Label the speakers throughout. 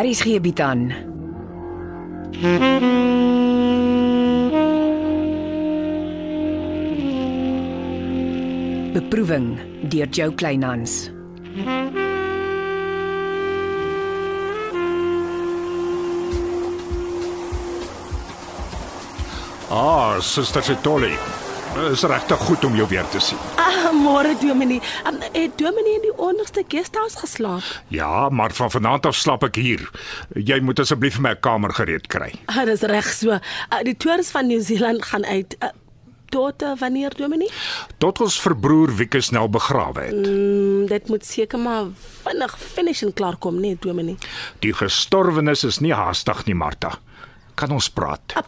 Speaker 1: Aries gee bied aan. Beproeving deur Jo Kleinhans.
Speaker 2: Ah, suster Setoli. Is regtig goed om jou weer te sien.
Speaker 3: Ah, môre Dominee. Um, het Dominee in die onderste guesthouse geslaap?
Speaker 2: Ja, maar van vanaand af slap ek hier. Jy moet asseblief my kamer gereed kry.
Speaker 3: Ah, dis reg so. Uh, die toerist van Nieu-Seeland gaan uit. Uh, tot uh, wanneer Dominee?
Speaker 2: Tot ons verbroer Wieke snel begrawe het.
Speaker 3: Mm, dit moet seker maar vinnig finish en klaar kom, nee Dominee.
Speaker 2: Die gestorwenes is nie haastig nie, Martha. Kan ons praat?
Speaker 3: Uh,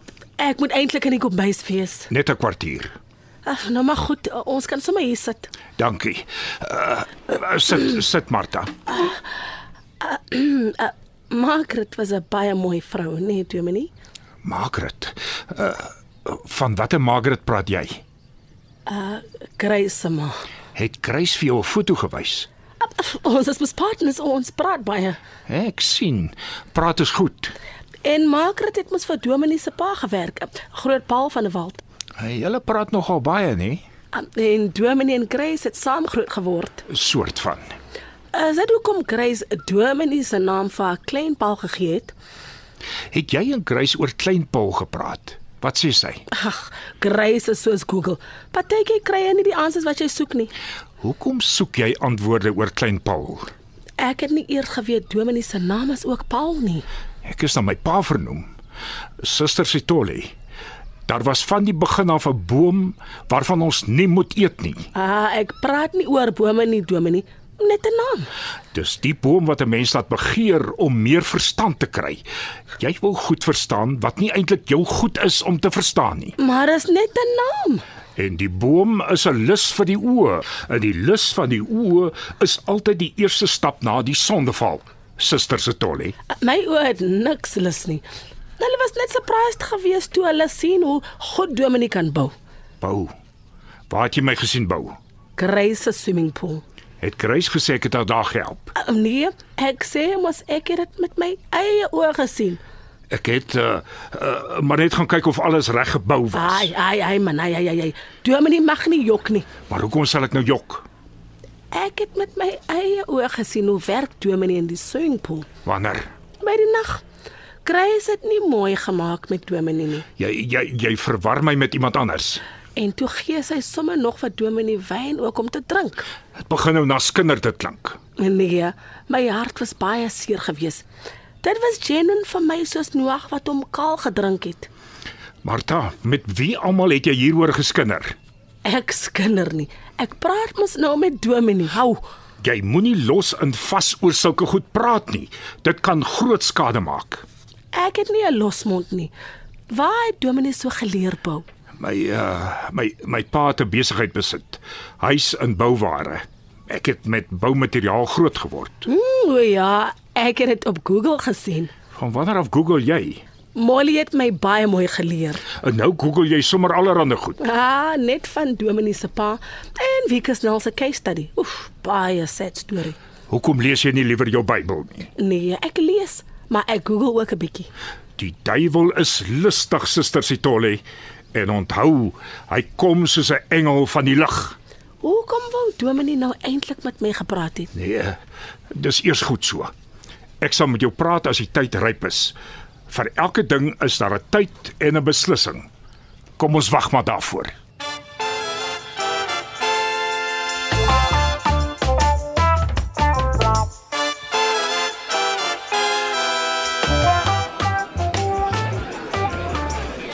Speaker 3: ek moet eintlik in die kombuis wees.
Speaker 2: Net 'n kwartier.
Speaker 3: Uh, nou maar goed, uh, ons kan sommer hier sit.
Speaker 2: Dankie. Uh, uh, sit sit Martha.
Speaker 3: Uh, Margaret was 'n baie mooi vrou, nee Dominee.
Speaker 2: Margaret. Uh, van watter Margaret praat jy?
Speaker 3: Grace maar.
Speaker 2: Het Grace vir jou 'n foto gewys?
Speaker 3: Uh, uh, ons is mos partners, ons praat baie.
Speaker 2: Ek sien. Praat is goed.
Speaker 3: En Margaret het mos vir Dominee se pa gewerk, uh, groot Paul van der Walt.
Speaker 2: Julle praat nogal baie, nê?
Speaker 3: Um, En Dominee en Grace het saam groot geword.
Speaker 2: Soort van.
Speaker 3: Is dit hoekom Grace Dominee se naam vir haar klein Paul gegee het?
Speaker 2: Het jy en Grace oor klein Paul gepraat? Wat sê sy?
Speaker 3: Ag, Grace is soos Google. Partykeer kry jy nie die answers wat jy soek nie.
Speaker 2: Hoekom soek jy antwoorde oor klein Paul?
Speaker 3: Ek het nie eers geweet Dominee se naam is ook Paul nie.
Speaker 2: Ek is na my pa vernoem. Suster Sitoli. Daar was van die begin af 'n boom waarvan ons nie moet eet nie.
Speaker 3: Ah, ek praat nie oor bome nie, Dominee, net 'n naam.
Speaker 2: Dis die boom wat 'n mens laat begeer om meer verstand te kry. Jy wil goed verstaan wat nie eintlik jou goed is om te verstaan nie.
Speaker 3: Maar is net 'n naam.
Speaker 2: En die boom is 'n lus vir die oë, en die lus van die oë is altyd die eerste stap na die sondeval. Suster Setoli,
Speaker 3: My oë het niks lus nie. Hulle was net surprised geweest toe hulle sien hoe God Dominee kan bou.
Speaker 2: bou. Waar het jy my gesien bou?
Speaker 3: Grace se swimming pool.
Speaker 2: Het Grace gesê ek het haar daar gehelp.
Speaker 3: Uh, Nee, ek sê mos ek het dit met my eie oë gesien.
Speaker 2: Ek het uh, uh, maar net gaan kyk of alles reg gebou was.
Speaker 3: Ai, ai, ai man, ai, ai, ai, ai. Dominee mag nie jok nie.
Speaker 2: Maar hoekom sal ek nou jok?
Speaker 3: Ek het met my eie oë gesien hoe werk Dominee in die swimmingpool
Speaker 2: Wanneer
Speaker 3: by die nag. Grace het nie mooi gemaak met Dominee nie.
Speaker 2: jy jy jy verwar my met iemand anders.
Speaker 3: En toe gee sy sommer nog vir Dominee wyn ook om te drink.
Speaker 2: Dit begin nou na skinder te klink.
Speaker 3: Nee, my hart was baie seer geweest. Dit was Jenon vir my soos Noag wat hom kaal gedrink het.
Speaker 2: Martha, met wie almal het jy hieroor geskinder?
Speaker 3: Ek skinder nie. Ek praat mos nou met Dominee. Hou.
Speaker 2: Jy moenie los en vas oor sulke goed praat nie. Dit kan groot skade maak.
Speaker 3: Ek het nie 'n losmond nie. Waar het Dominee so geleer bou?
Speaker 2: My uh my my pa het 'n besigheid besit. Huis en bouware. Ek het met boumateriaal groot geword.
Speaker 3: Mm, o ja, ek het dit op Google gesien.
Speaker 2: Van wanneer af Google jy?
Speaker 3: Molly het my baie mooi geleer.
Speaker 2: En nou Google jy sommer allerlei goed.
Speaker 3: Ah, net van Dominee se pa en Wieke Snell se case study. Oef, baie sad storie.
Speaker 2: Hoekom lees jy nie liewer jou Bybel nie?
Speaker 3: Nee, ek lees, maar ek Google ook 'n bietjie.
Speaker 2: Die duiwel is lustig, suster Sitoli, en onthou, hy kom soos 'n engel van die lig.
Speaker 3: Hoekom wou Dominee nou eintlik met my gepraat het?
Speaker 2: Nee, dis eers goed so. Ek sal met jou praat as die tyd ryp is. Vir elke ding is daar 'n tyd en 'n beslissing. Kom ons wag maar daarvoor.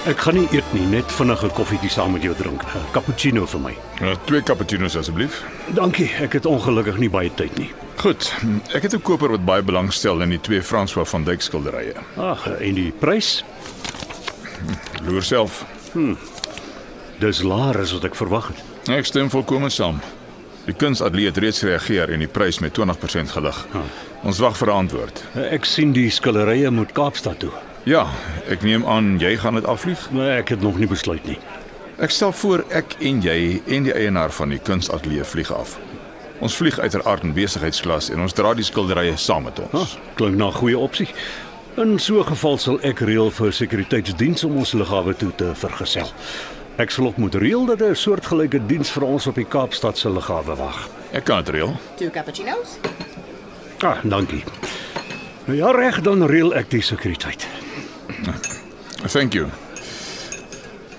Speaker 4: Ek gaan nie eet nie, net vinnige koffietjie saam met jou drink. 'n Cappuccino vir my.
Speaker 5: Ja, twee cappuccino's asseblief.
Speaker 4: Dankie, ek het ongelukkig nie baie tyd nie.
Speaker 5: Goed, ek het 'n koper wat baie belangstel in die twee François van Dyk skilderye.
Speaker 4: Ag, en die prys?
Speaker 5: Loer self.
Speaker 4: Dis laer as wat ek verwag het.
Speaker 5: Ek stem volkome saam. Die kunsatelier het reeds gereageer en die prys met 20% gelig. Ons wag vir 'n antwoord.
Speaker 4: Ek sien die skillerye moet Kaapstad toe.
Speaker 5: Ja, ek neem aan jy gaan dit afvlieg.
Speaker 4: Maar ek het nog nie besluit nie.
Speaker 5: Ek stel voor ek en jy en die eienaar van die kunsatelier vlieg af. Ons vlieg uiteraard in besigheidsklas en ons dra die skilderye saam met ons.
Speaker 4: Ah, klink na 'n goeie opsie. In so 'n geval sal ek reël vir sekuriteitsdiens om ons lughawe toe te vergesel. Ek sal ook moet reël dat 'n soortgelyke diens vir ons op die Kaapstad se lughawe wag.
Speaker 5: Ek kan dit reël.
Speaker 6: Two cappuccinos?
Speaker 4: Ah, dankie. Nou ja, reg dan reël ek die sekuriteit.
Speaker 5: Thank you.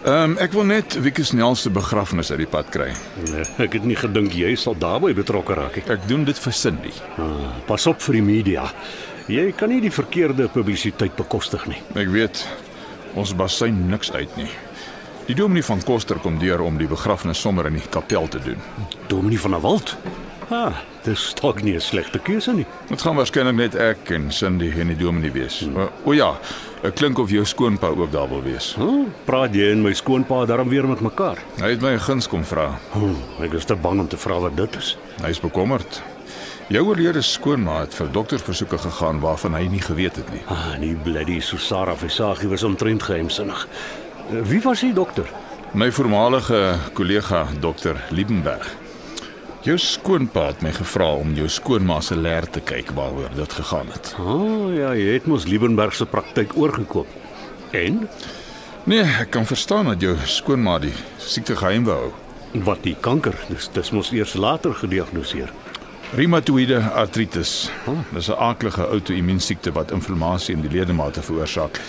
Speaker 5: Ehm um, ek wil net Wiekie Snell se begrafnis uit die pad kry.
Speaker 4: Nee, ek het nie gedink jy sal daarbey betrokke raak nie.
Speaker 5: Ek doen dit vir Cindy.
Speaker 4: Ah, pas op vir die media. Jy kan nie die verkeerde publisiteit bekostig nie.
Speaker 5: Ek weet ons basyn niks uit nie. Die dominee van Koster kom deur om die begrafnis sommer in die kapel te doen.
Speaker 4: Dominee van der Walt. Ah, dis dalk nie 'n slegte keuse nie.
Speaker 5: Dit gaan waarskynlik net ek en Cindy en die dominee wees. O, o ja, dit klink of jou skoonpa ook daar wil wees.
Speaker 4: Hm, praat jy en my skoonpa daarom weer met mekaar?
Speaker 5: Hy het my 'n guns kom vra.
Speaker 4: Hm, ek is te bang om te vra wat dit is.
Speaker 5: Hy is bekommerd. Jou oorlede skoonma het vir doktersversoeke gegaan waarvan hy nie geweet het nie.
Speaker 4: Ah, die bloody Susara Visagie was omtrent geheimsinnig. Eh, Wie was die dokter?
Speaker 5: My voormalige kollega dokter Liebenberg. Jou skoonpa het my gevra om jou skoonma se leer te kyk waaroor dit gegaan het.
Speaker 4: O oh, ja, jy het mos Liebenberg se praktyk oorgekoop. En
Speaker 5: Nee, ek kan verstaan dat jou skoonma die siekte geheim wou hou.
Speaker 4: wat die kanker, dis dis mos eers later gediagnoseer.
Speaker 5: Reumatoïde artritis. Dis 'n aaklige outoimmuun siekte wat inflammasie in die ledemate veroorsaak.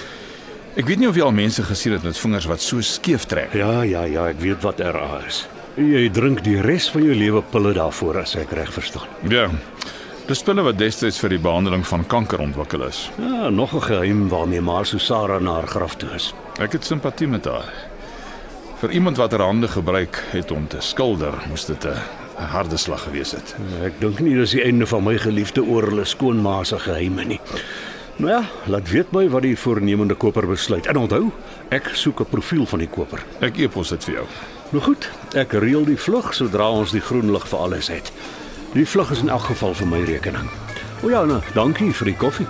Speaker 5: Ek weet nie of jy al mense gesien het met vingers wat so skeef trek.
Speaker 4: Ja, ja, ja, ek weet wat RA is. Jy drink die res van jou lewe pille daarvoor as ek reg verstaan.
Speaker 5: Ja. Dis pille wat destyds vir die behandeling van kanker ontwikkel is.
Speaker 4: Ja, nog 'n geheim waarmee maar Susara na haar graf toe is.
Speaker 5: Ek het simpatie met haar. Vir iemand wat haar hande gebruik het om te skilder, moes dit 'n 'n harde slag gewees het.
Speaker 4: Ek dink nie dis die einde van my geliefde oor hulle skoonma se geheime nie. Nou ja, laat weet my wat die voornemende koper besluit. En onthou, ek soek 'n profiel van die koper.
Speaker 5: Ek epos dit vir jou.
Speaker 4: Nou goed, ek reël die vlug sodra ons die groen lig vir alles het. Die vlug is in elk geval vir my rekening. O ja, nou, dankie vir die koffie.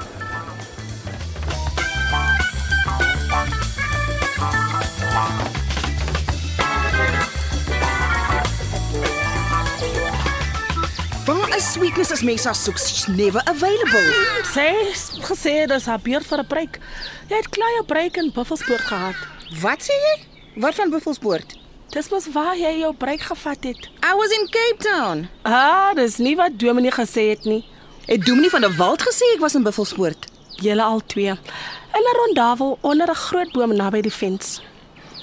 Speaker 6: Waar is sweetness as mense haar soek? She's never available.
Speaker 3: Sê s- gesê dis haar beurt vir 'n preek. Jy het klaar jou preek in Buffelspoort gehad.
Speaker 6: Wat sê jy? Wat van Buffelspoort?
Speaker 3: Dis mos waar jy jou preek gevat het.
Speaker 6: I was in Cape Town.
Speaker 3: Ah, dis nie wat Dominee gesê het nie.
Speaker 6: Het Dominee van der Walt gesê ek was in Buffelspoort?
Speaker 3: Julle al twee. In 'n rondavel onder 'n groot boom naby die fens.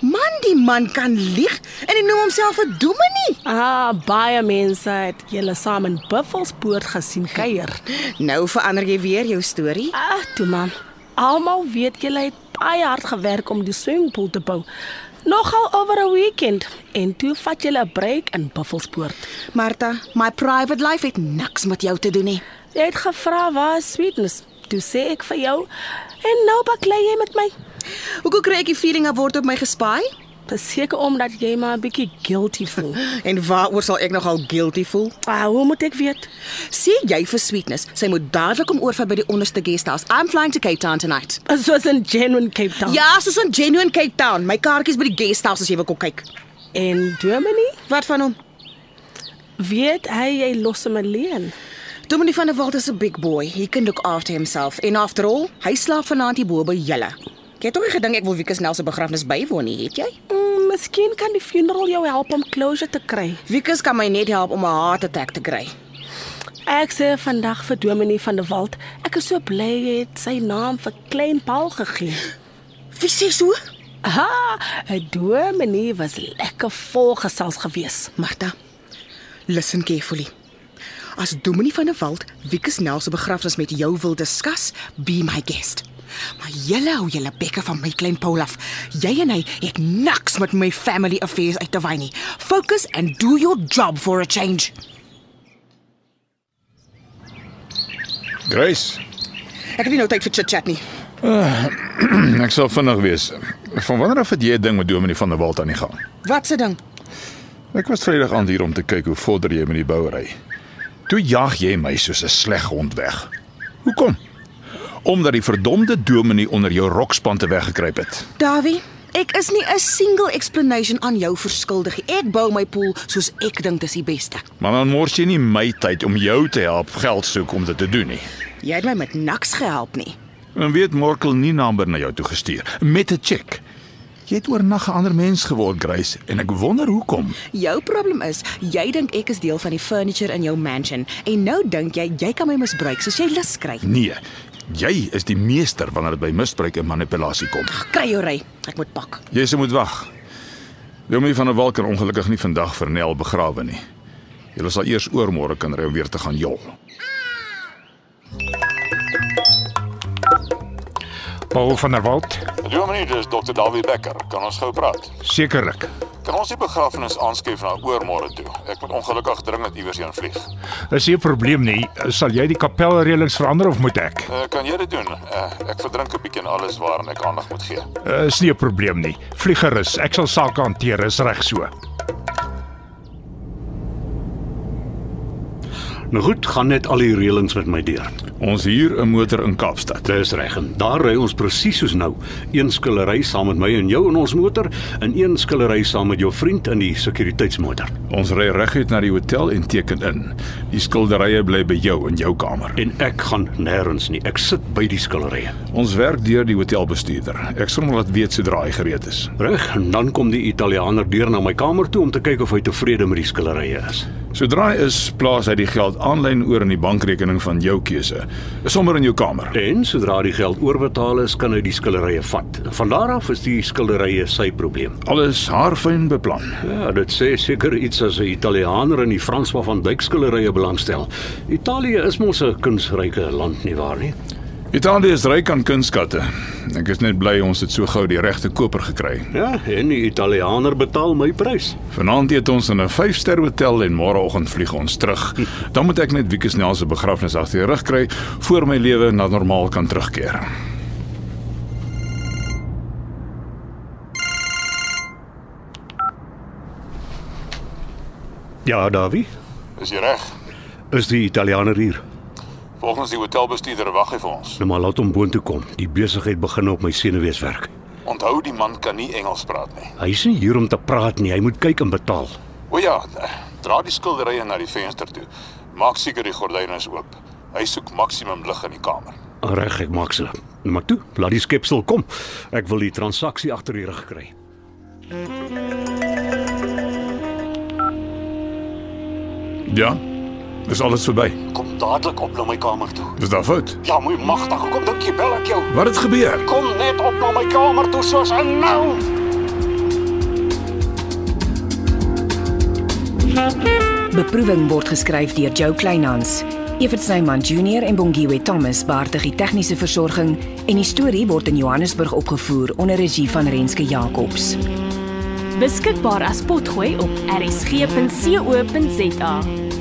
Speaker 6: Man, die man kan lieg en hy noem homself 'n Dominee.
Speaker 3: Ah, baie mense het julle saam in Buffelspoort gesien kuier.
Speaker 6: Nou verander jy weer jou storie.
Speaker 3: Ag, toe man. Almal weet julle het baie hard gewerk om die swimmingpool te bou. Nogal oor 'n weekend en toe vat julle 'n break in Buffelspoort.
Speaker 6: Martha, my private life het niks met jou te doen nie.
Speaker 3: Jy het gevra waar is sweetness. Toe sê ek vir jou en nou baklei jy met my.
Speaker 6: Hoekom kry ek die feeling dat word op my gespaai?
Speaker 3: Beseker omdat jy maar 'n bietjie guilty voel.
Speaker 6: En waaroor sal ek nogal guilty voel?
Speaker 3: Ah, hoe moet ek weet?
Speaker 6: Sê jy vir sweetness, sy moet dadelik kom oorvaar by die onderste guest house. I'm flying to Cape Town tonight.
Speaker 3: Soos in genuine Cape Town.
Speaker 6: Ja, soos in genuine Cape Town. My kaartjies by die guest house as jy wil kom kyk.
Speaker 3: En Dominee,
Speaker 6: Wat van hom?
Speaker 3: weet hy jy los hom alleen.
Speaker 6: Dominee van der Walt is 'n big boy. He can look after himself. En after all, hy slaap vanaand hier bo by julle. Jy het tog nie gedink ek wil Wieke Snell se begrafnis bywoon nie, het jy?
Speaker 3: Mm, miskien kan die funeral jou help om closure te kry.
Speaker 6: Wieke kan my net help om 'n heart attack te kry.
Speaker 3: Ek sê vandag vir Dominee van der Walt, ek is so bly jy het sy naam vir Klein Paul gegee.
Speaker 6: Wie sê so?
Speaker 3: Ha, Dominee was lekker volgesels gewees.
Speaker 6: Martha. Listen carefully. As Dominee van der Walt Wieke Snell se begrafnis met jou wil diskus, be my guest. Maar julle hou julle bekke van my klein Paul af. Jy en hy het niks met my family affairs uit te wy nie. Focus and do your job for a change.
Speaker 5: Grace,
Speaker 6: Ek het nie nou tyd vir chit-chat nie.
Speaker 5: ek sal vinnig wees. Van wanneer af het jy 'n ding met Dominee van der Walt aan die gang?
Speaker 6: Wat se ding?
Speaker 5: Ek was Vrydag aand hier om te kyk hoe vorder jy met die bouery. Toe jag jy my soos 'n sleg hond weg. Hoekom? Omdat die verdomde dominee onder jou rokspan te weggekruip het.
Speaker 6: Dawie, Ek is nie 'n single explanation aan jou verskuldig nie. Ek bou my pool soos ek dink dis die beste.
Speaker 5: Maar dan mors jy nie my tyd om jou te help geld soek om dit te doen nie.
Speaker 6: Jy het my met niks gehelp nie.
Speaker 5: En weet Morkel nie naamber na jou toe gestuur met 'n cheque. Jy het oornag 'n ander mens geword, Grace, en ek wonder hoekom.
Speaker 6: Jou probleem is, jy dink ek is deel van die furniture in jou mansion en nou dink jy jy kan my misbruik soos jy lus kry.
Speaker 5: Nee, jy is die meester wanneer dit by misbruik en manipulasie kom.
Speaker 6: Kry jou ry. Ek moet pak.
Speaker 5: Jy se moet wag. Dominee van der Walt kan ongelukkig nie vandag vir Nel begrawe nie. Jy sal eers oormôre kan ry om weer te gaan jol.
Speaker 2: Paul van der Walt,
Speaker 7: Dominee, dis Dr. Dawie Becker. Kan ons gou praat?
Speaker 2: sekerlik.
Speaker 7: Kan ons die begrafnis aanskuif na oormôre toe? Ek moet ongelukkig dringend iewers heen vlieg.
Speaker 2: Is nie 'n probleem nie. Sal jy die kapelreëlings verander of moet ek?
Speaker 7: Uh, kan jy dit doen? Uh, ek verdrink 'n bietjie aan alles waaraan ek aandag moet gee.
Speaker 2: Uh, Is nie 'n probleem nie. Vlieg gerus. Ek sal sake hanteer, is reg so.
Speaker 4: Nou goed, gaan net al die reëlings met my deur.
Speaker 5: Ons huur 'n motor in Kaapstad.
Speaker 4: Dis reg. en Daar ry ons presies soos nou. Een skillery saam met my en jou in ons motor en een skillery saam met jou vriend in die sekuriteitsmotor.
Speaker 5: Ons ry reguit na die hotel en teken in. Die skilderye bly by jou in jou kamer.
Speaker 4: En ek gaan nêrens nie. Ek sit by die skillerye.
Speaker 5: Ons werk deur die hotelbestuurder. Ek sal hom laat weet sodra hy gereed is.
Speaker 4: Reg, en dan kom die Italiaaner deur na my kamer toe om te kyk of hy tevrede met die skillerye is.
Speaker 5: Sodra hy is, plaas hy die geld aanlyn oor in die bankrekening van jou keuse, sommer in jou kamer.
Speaker 4: En sodra die geld oorbetaal is, kan hy die skillerye vat. Van daar af is die skillerye sy probleem.
Speaker 5: Alles haarfyn beplan.
Speaker 4: Ja, dit sê seker iets as 'n Italiaaner in die Franswa van Dyk skillerye belangstel. Italië is mos 'n kunsryke land nie waar nie?
Speaker 5: Italië is ryk aan kunstskatte. Ek is net bly ons het so gou die regte koper gekry.
Speaker 4: Ja, en die Italiaaner betaal my prys.
Speaker 5: Vanaand eet ons in 'n 5-ster hotel en môreoggend vlieg ons terug. Dan moet ek net Wieke Snell se begrafnis agter die rug kry voor my lewe na normaal kan terugkeer.
Speaker 4: Ja, Dawie,
Speaker 7: Is jy reg?
Speaker 4: is die Italiaaner hier.
Speaker 7: Volgens die hotelbestuurder wag hy vir ons.
Speaker 4: Nou maar laat hom boontoe kom. Die besigheid begin op my senuwees werk.
Speaker 7: Onthou die man kan nie Engels praat nie.
Speaker 4: Hy's nie hier om te praat nie. Hy moet kyk en betaal.
Speaker 7: O ja, dra die skilderye na die venster toe. Maak seker die gordyne is oop. Hy soek maksimum lig in die kamer.
Speaker 4: Reg, ek maak so. Maar toe, laat die skepsel kom. Ek wil die transaksie agter die rug kry.
Speaker 5: Ja. Is alles verby?
Speaker 7: Kom dadelik op na my kamer toe.
Speaker 5: Is daar fout?
Speaker 7: Ja, my magtig, hoekom dink jy bel ek jou?
Speaker 5: Wat het gebeur?
Speaker 7: Kom net op na my kamer toe soos en nou.
Speaker 1: Beproeving word geskryf deur Jo Kleinhans. Evert Snyman Junior en Bongwe Thomas baartig die tegniese versorging en die storie word in Johannesburg opgevoer onder regie van Renske Jacobs.
Speaker 8: beskikbaar as potgooi op rsg.co.za.